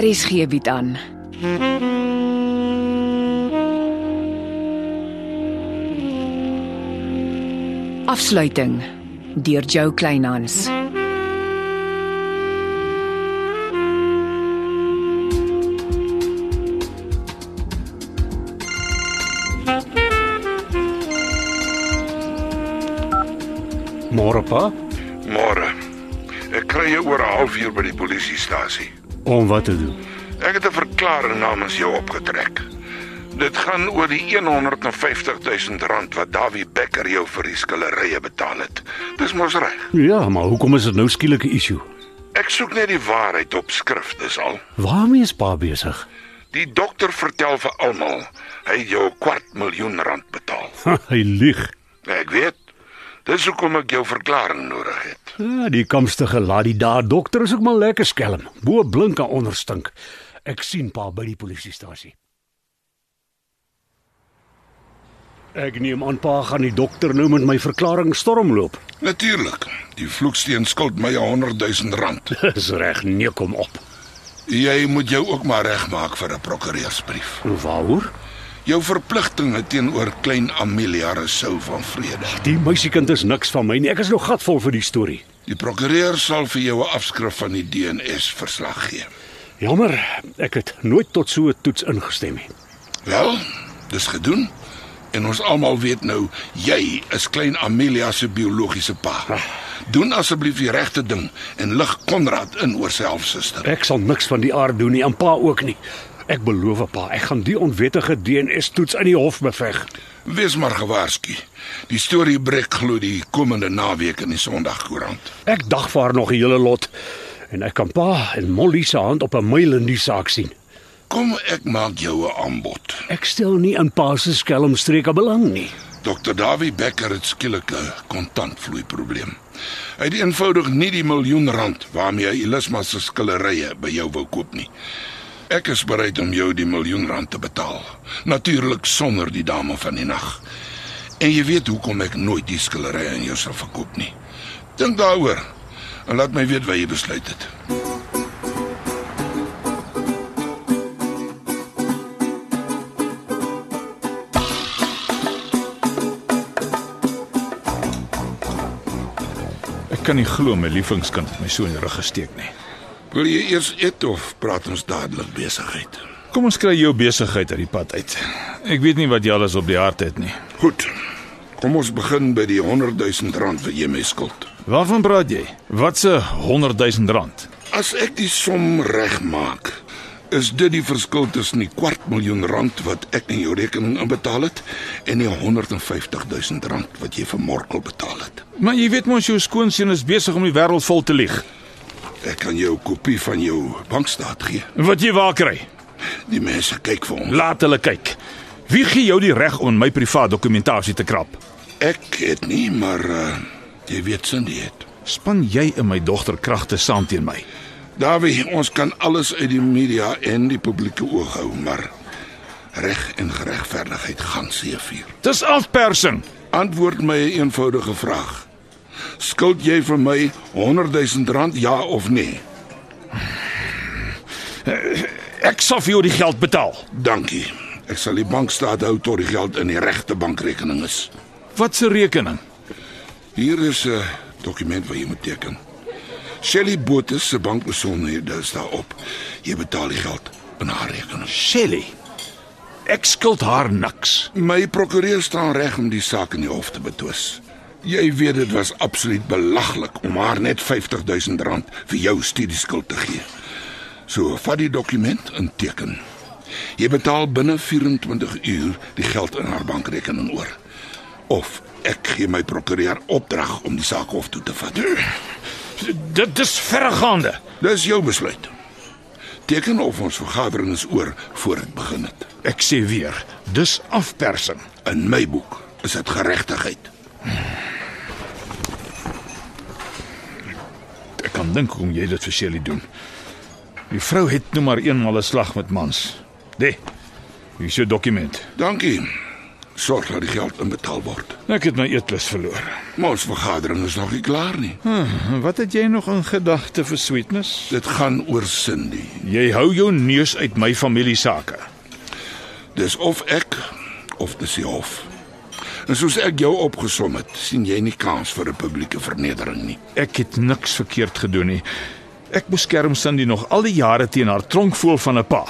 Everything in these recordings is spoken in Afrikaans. RSG Er bied aan. Afsluiting deur Jo Kleinhans. Môre pa, Môre. Ek kry jou oor 'n halfuur by die polisiestasie. om wat te doen? Ek het 'n verklaring namens jou opgetrek. Dit gaan oor die 150 000 rand wat Dawie Becker jou vir die skillerye betaal het. Dis mos reg. Ja, maar hoekom is dit nou skielik 'n issue? Ek soek net die waarheid op skrif, dis al. Waarmee is pa besig? Die dokter vertel vir almal hy het jou 'n kwart miljoen rand betaal. Hy lieg. Ek weet. Dis hoekom ek jou verklaring nodig het. Ja, die kamstige laat die daar dokter is ook maar lekker skelm. Bo blink en onder stink. Ek sien pa by die polisiestasie. Ek neem aan pa gaan die dokter nou met my verklaring stormloop. Natuurlik. Die vloeksteen skuld my 100 000 rand. Dis reg, nee kom op. Jy moet jou ook maar regmaak vir 'n prokureursbrief. Waaroor? Jou verpligtinge teenoor klein Amelia Rousseau van Vrede. Die meisiekind is niks van my nie. Ek is nog gatvol vir die storie. Die prokureur sal vir jou 'n afskrif van die DNS verslag gee. Jammer, ek het nooit tot so 'n toets ingestem nie. Wel, dis gedoen. En ons almal weet nou jy is klein Amelia se biologiese pa. Doen asseblief die regte ding en lig Konrad in oor sy halfsuster. Ek sal niks van die aard doen nie, en pa ook nie. Ek beloof pa, ek gaan die onwettige DNS-toets in die hof beveg. Wees maar gewaarsku. Die storie breek glo die komende naweek in die Sondagkoerant. Ek dagvaar nog 'n hele lot en ek kan pa en Molly se hand op 'n myl in die saak sien. Kom ek maak jou 'n aanbod. Ek stel nie in pa se skelmstreke belang nie. Dr. Dawie Becker het skielik 'n kontantvloei probleem. Hy het eenvoudig nie die miljoen rand waarmee hy Ilisma se skillerye by jou wou koop nie. Ek is bereid om jou die miljoen rand te betaal, natuurlik sonder die dame van die nag. En jy weet hoekom ek nooit die skillerye aan jou sal verkoop nie. Dink daaroor en laat my weet wat jy besluit het. Ek kan nie glo my lieflingskind het my so in die rug gesteek nie. Wil jy eers eet of praat ons dadelik besigheid? Kom ons kry jou besigheid uit die pad uit. Ek weet nie wat jy alles op die hart het nie. Goed. Kom ons begin by die 100 000 rand wat jy my skuld. Waarvan praat jy? Wat se 100 000 rand? As ek die som reg maak, is dit die verskil tussen die kwart miljoen rand wat ek in jou rekening inbetaal het en die 150 000 rand wat jy vir Morkel betaal het. Maar jy weet mos jou skoonseun is besig om die wêreld vol te lieg. Ek kan jou 'n kopie van jou bankstaat gee. Wat jy waar kry? Die mense kyk vir hom. Laat hulle kyk. Wie gee jou die reg om in my privaat dokumentasie te krap? Ek het nie, maar uh, jy weet Cindy het. Span jy en my dogter kragte saam teen my? Dawie, ons kan alles uit die media en die publieke oog hou, maar reg en geregverdigheid gaan seëvier. Dis afpersing. Antwoord my 'n eenvoudige vraag. Skuld jy vir my 100 000 rand ja of nee? Ek sal vir jou die geld betaal. Dankie. Ek sal die bankstaat hou tot die geld in die regte bankrekening is. Wat se rekening? Hier is 'n dokument wat jy moet teken. Shelly Botha se bankbesonderhede is daarop. Jy betaal die geld in haar rekening. Shelly. Ek skuld haar niks. My prokureur staan reg om die saak in die hof te betwis. Jy weet dit was absoluut belaglik om haar net 50000 rand vir jou studieskuld te gee. So, vat die dokument en teken. Jy betaal binne 24 uur die geld in haar bankrekening oor. Of ek gee my prokureur opdrag om die saak hof toe te vat. Dit dis verregaande. Dis jou besluit. Teken of ons vergadering is oor voor dit begin het. Ek sê weer, dis afpersing. In my boek is dit geregtigheid. Ek kan dink hoekom jy dit vir Shelly doen. Die vrou het nou maar eenmal 'n slag met mans. Dê. Hier is jou dokument. Dankie. Sorg dat die geld inbetaal word. Ek het my eetlus verloor. Maar ons vergadering is nog nie klaar nie. Hm, wat het jy nog in gedagte vir sweetness? Dit gaan oor Cindy. Jy hou jou neus uit my familie sake. Dis of ek of dis die hof. En soos ek jou opgesom het, sien jy nie kans vir 'n publieke vernedering nie. Ek het niks verkeerd gedoen nie. Ek beskerm Cindy nog al die jare teen haar tronkvoel van 'n pa.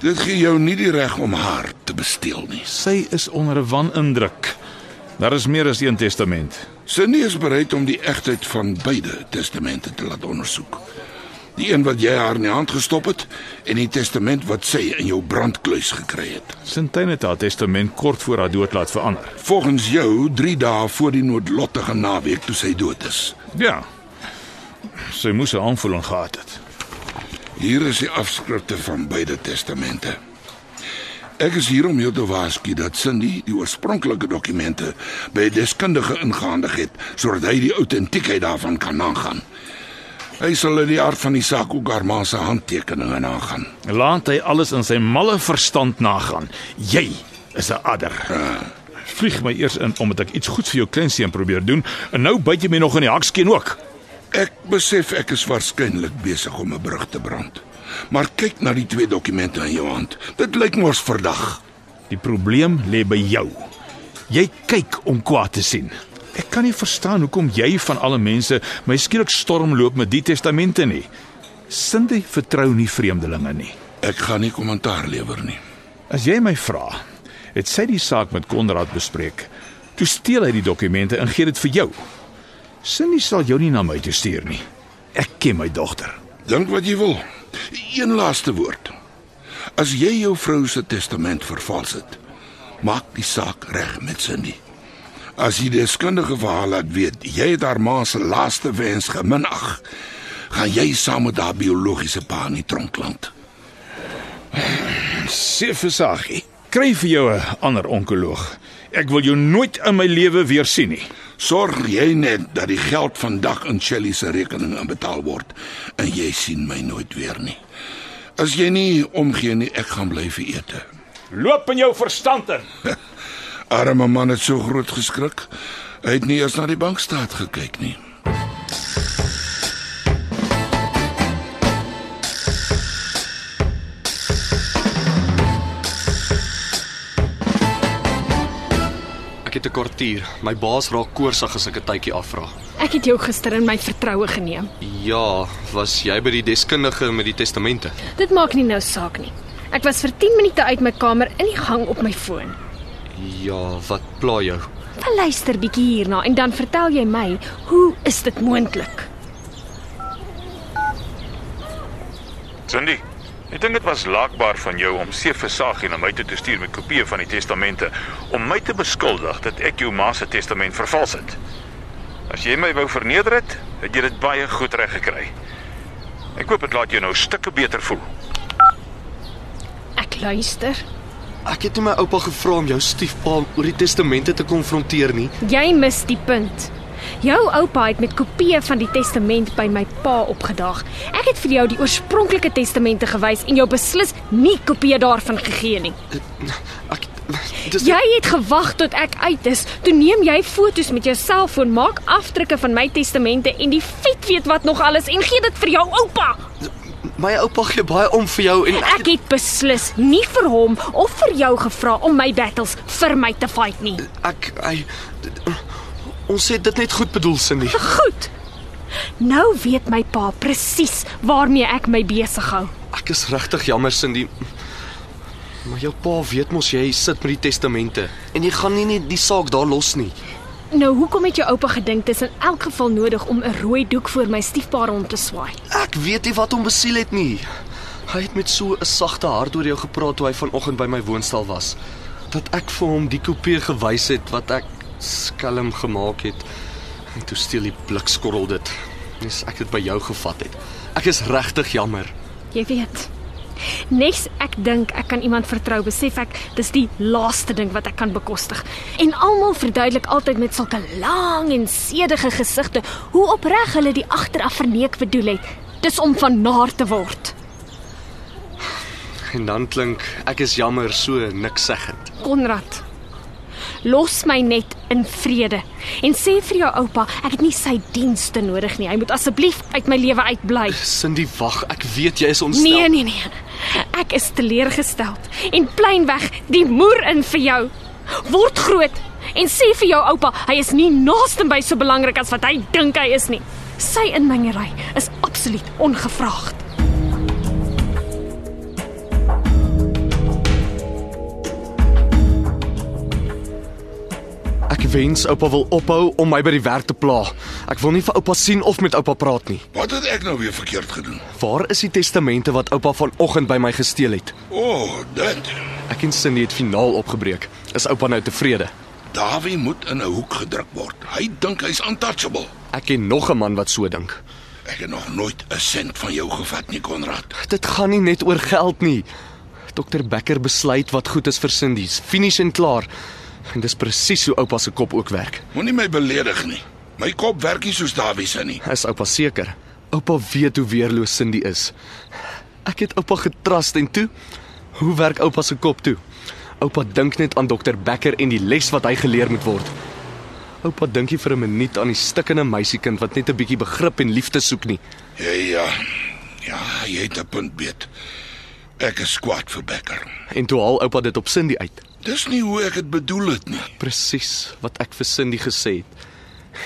Dit gee jou nie die reg om haar te besteel nie. Sy is onder 'n wanindruk. Daar is meer as een testament. Cindy is bereid om die egtheid van beide testamente te laat ondersoek. Die een wat jy haar in die hand gestop het en die testament wat sy in jou brandkluis gekry het. Sintyn het haar testament kort voor haar dood laat verander. Volgens jou 3 dae voor die noodlottige naweek toe sy dood is. Ja. Sy moes 'n aanvoeling gehad het. Hier is die afskrifte van beide testamente. Ek is hier om jou te waarsku dat Cindy die oorspronklike dokumente by 'n deskundige ingehandig het sodat hy die outentiekheid daarvan kan nagaan. Hy sal in die aard van die saak ook haar ma se handtekeninge nagaan. Laat hy alles in sy malle verstand nagaan. Jy is 'n adder. Vlieg my eers in omdat ek iets goeds vir jou kleinseun probeer doen en nou byt jy my nog in die hakskeen ook. Ek besef ek is waarskynlik besig om 'n brug te brand. Maar kyk na die twee dokumente in jou hand. Dit lyk mos verdag. Die probleem lê by jou. Jy kyk om kwaad te sien. Ek kan nie verstaan hoekom jy van alle mense my skielik stormloop met die testamente nie. Cindy vertrou nie vreemdelinge nie. Ek gaan nie kommentaar lewer nie. As jy my vra, het sy die saak met Konrad bespreek. Toe steel hy die dokumente en gee dit vir jou. Cindy sal jou nie na my toe stuur nie. Ek ken my dogter. Dink wat jy wil. Een laaste woord. As jy jou vrou se testament vervals het, maak die saak reg met Cindy. As jy deskundige vir haar laat weet jy het haar ma se laaste wens geminag, gaan jy saam met haar biologiese pa in die tronkland. Sefisagie, kry vir jou 'n ander onkoloog. Ek wil jou nooit in my lewe weer sien nie. Sorg jy net dat die geld vandag in Shelly se rekening inbetaal word en jy sien my nooit weer nie. As jy nie omgee nie, ek gaan bly vir ete. Loop in jou verstand in. Arme man het so groot geskrik. Hy het nie eers na die bankstaat gekyk nie. Ek het 'n kwartier. My baas raak koorsig as ek 'n tydjie afvra. Ek het jou gister in my vertroue geneem. Ja, was jy by die deskundige met die testamente? Dit maak nie nou saak nie. Ek was vir 10 minute uit my kamer in die gang op my foon. Ja, wat pla jou? Wel luister bietjie hierna en dan vertel jy my, hoe is dit moontlik? Cindy, ek dink dit was laakbaar van jou om Sefisagie na my toe te stuur met kopieë van die testamente om my te beskuldig dat ek jou ma se testament vervals het. As jy my wou verneder het, het jy dit baie goed reg gekry. Ek hoop dit laat jou nou stukke beter voel. Ek luister. Ek het toe my oupa gevra om jou stiefpa oor die testamente te konfronteer nie. Jy mis die punt. Jou oupa het met kopieë van die testament by my pa opgedaag. Ek het vir jou die oorspronklike testamente gewys en jou beslis nie kopieë daarvan gegee nie. Ek dis Jy het gewag tot ek uit is. Toe neem jy foto's met jou selfoon, maak afdrukke van my testamente en die vet weet wat nog alles en gee dit vir jou oupa. my oupa gee baie om vir jou en Ek het beslis nie vir hom of vir jou gevra om my battles vir my te fight nie. ek hy ons het dit net goed bedoel Cindy. Goed. Nou weet my pa presies waarmee ek my besig hou. Ek is regtig jammer Cindy. Maar jou pa weet mos jy sit met die testamente en jy gaan nie net die saak daar los nie. Nou hoekom het jou oupa gedink dis in elk geval nodig om 'n rooi doek voor my stiefpa rond te swaai? Ek weet nie wat hom besiel het nie. Hy het met so 'n sagte hart oor jou gepraat toe hy vanoggend by my woonstel was. Dat ek vir hom die kopie gewys het wat ek skelm gemaak het. En toe steel die blikskorrel dit. Dis ek dit by jou gevat het. Ek is regtig jammer. Jy weet. Nes ek dink ek kan iemand vertrou, besef ek dis die laaste ding wat ek kan bekostig. En almal verduidelik altyd met sulke lang en sedige gesigte hoe opreg hulle die agteraf verneek bedoel het. Dis om van naar te word. En dan klink ek is jammer so niks seggend. Konrad. Los my net in vrede en sê vir jou oupa, ek het nie sy dienste nodig nie. Hy moet asseblief uit my lewe uitbly. Cindy, wag, ek weet jy is ontstel. Nee, nee, nee. Ek is teleurgesteld en pleinweg die moer in vir jou. Word groot en sê vir jou oupa, hy is nie naaste by so belangrik as wat hy dink hy is nie. Sy inmengery is absoluut ongevraagd. Ek wens oupa wil ophou om my by die werk te pla. Ek wil nie vir oupa sien of met oupa praat nie. Wat het ek nou weer verkeerd gedoen? Waar is die testamente wat oupa vanoggend by my gesteel het? O, oh, dit. Ek en Cindy het finaal opgebreek. Is oupa nou tevrede? Dawie moet in 'n hoek gedruk word. Hy dink hy's untouchable. Ek ken nog 'n man wat so dink. Ek het nog nooit 'n sent van jou gevat nie, Konrad. Dit gaan nie net oor geld nie. Dr Becker besluit wat goed is vir Cindy's. Finies en klaar. En dis presies hoe oupa se kop ook werk. Moenie my beledig nie. My kop werk nie soos Dawie se nie. Is oupa seker? Oupa weet hoe weerloos Cindy is. Ek het oupa getrust en toe, hoe werk oupa se kop toe? Oupa dink net aan dokter Becker en die les wat hy geleer moet word. Oupa dink nie vir 'n minuut aan die stikkende meisiekind wat net 'n bietjie begrip en liefde soek nie. Ja, ja. Ja, jy het 'n punt beet. Ek is kwaad vir Becker. En toe haal oupa dit op Cindy uit. Dis nie hoe ek dit bedoel het nie. Presies wat ek vir Cindy gesê het.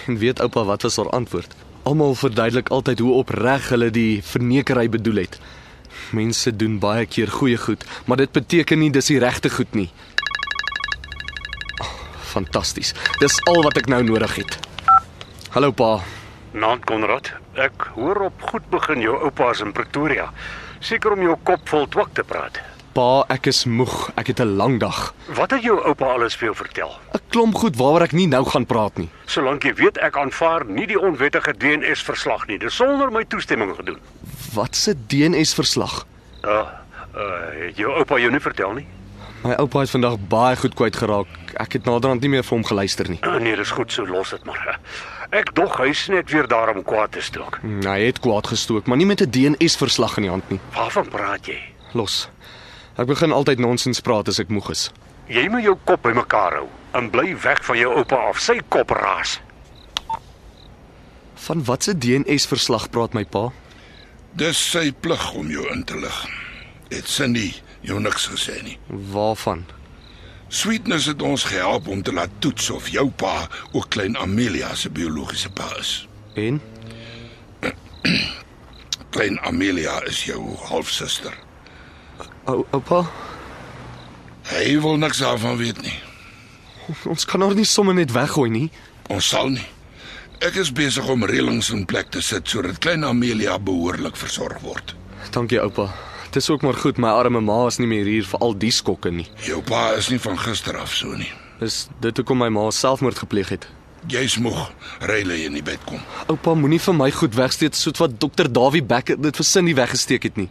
En weet oupa wat was haar antwoord? Almal verduidelik altyd hoe opreg hulle die vernekery bedoel het. Mense doen baie keer goeie goed, maar dit beteken nie dis die regte goed nie. Oh, Fantasties. Dis al wat ek nou nodig het. Hallo pa. Naam Konrad. Ek hoor op goed begin jou oupa's in Pretoria. Seker om jou kop vol twak te praat. Pa, ek is moeg. Ek het 'n lang dag. Wat het jou oupa alles vir jou vertel? 'n Klomp goed waaroor ek nie nou gaan praat nie. Solank jy weet ek aanvaar nie die onwettige DNS verslag nie. Dis sonder my toestemming gedoen. Wat se DNS verslag? Uh, uh het jou oupa jou nie vertel nie? My oupa het vandag baie goed kwyt geraak. Ek het naderhand nie meer vir hom geluister nie. Uh, nee, dis goed so, los dit maar. Ek dog hy's net weer daar om kwaad te stook. Hm, Hy het kwaad gestook, maar nie met 'n DNS verslag in die hand nie. Waarvan praat jy? Los. Ek begin altyd nonsens praat as ek moeg is. Jy moet jou kop bymekaar hou en bly weg van jou oupa af. Sy kop raas. Van watse DNS verslag praat my pa? Dis sy plig om jou in te lig. Het Cindy jou niks gesê nie. Waarvan? Sweetness het ons gehelp om te laat toets of jou pa ook klein Amelia se biologiese pa is. En Klein Amelia is jou halfsuster. ou oupa, Hy wil niks daarvan weet nie. ons kan haar nie sommer net weggooi nie. Ons sal nie. Ek is besig om reëlings in plek te sit sodat klein Amelia behoorlik versorg word. Dankie oupa. Dis ook maar goed my arme ma is nie meer hier vir al die skokke nie. Jou pa is nie van gister af so nie. Dis dit hoekom my ma selfmoord gepleeg het. Jy's moeg. Ry lê in die bed kom. Oupa moenie vir my goed wegsteek soos wat dokter Dawie Becker dit vir Cindy weggesteek het nie.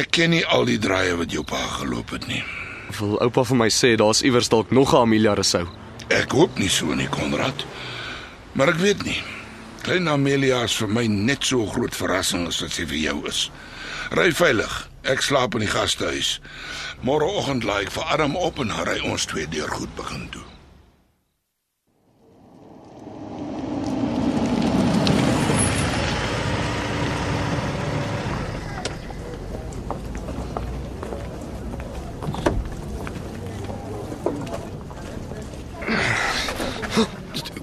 Ek ken nie al die draaie wat jou pa geloop het nie. Wil oupa vir my sê daar's iewers dalk nog 'n Amelia Rousseau? Ek hoop nie so nie, Konrad. Maar ek weet nie. Klein Amelia is vir my net so 'n groot verrassing as wat sy vir jou is. Ry veilig. Ek slaap in die gastehuis. Môreoggend laai ek vir Adam op en ry ons twee deur goed begin toe.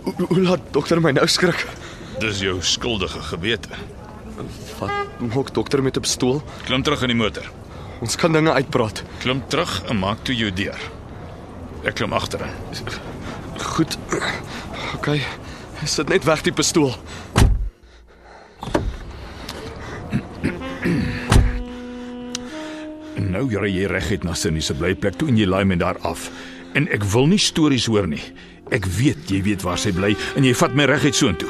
Hoe- Hoe laat dokter my nou skrik? Dis jou skuldige gewete. Wat maak dokter met 'n pistool? Klim terug in die motor. Ons kan dinge uitpraat. Klim terug en maak toe jou deur. Ek klim agterin. Goed. OK. Sit net weg die pistool. En nou ry jy reguit na Cindy se blyplek toe en jy laai my daar af. En ek wil nie stories hoor nie. Ek weet jy weet waar sy bly en jy vat my reguit soontoe.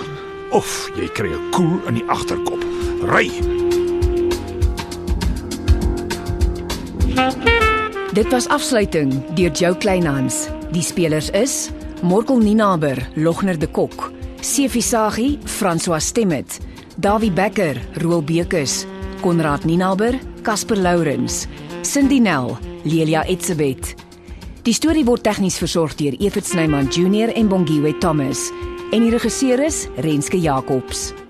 Of jy kry 'n koel in die agterkop. Ry. Dit was afsluiting deur Jo Kleinhans. Die spelers is Morkel Ninaber, Logner de Kok, Sefi Sagie, François Stemmet, Dawie Becker, Roel Bekus, Konrad Ninaber, Casper Lourens, Cindy Nel, Lelia Etzebeth. Die storie word tegnies versorg deur Evert Snyman Junior en Bongwe Thomas en die regisseur is Renske Jacobs.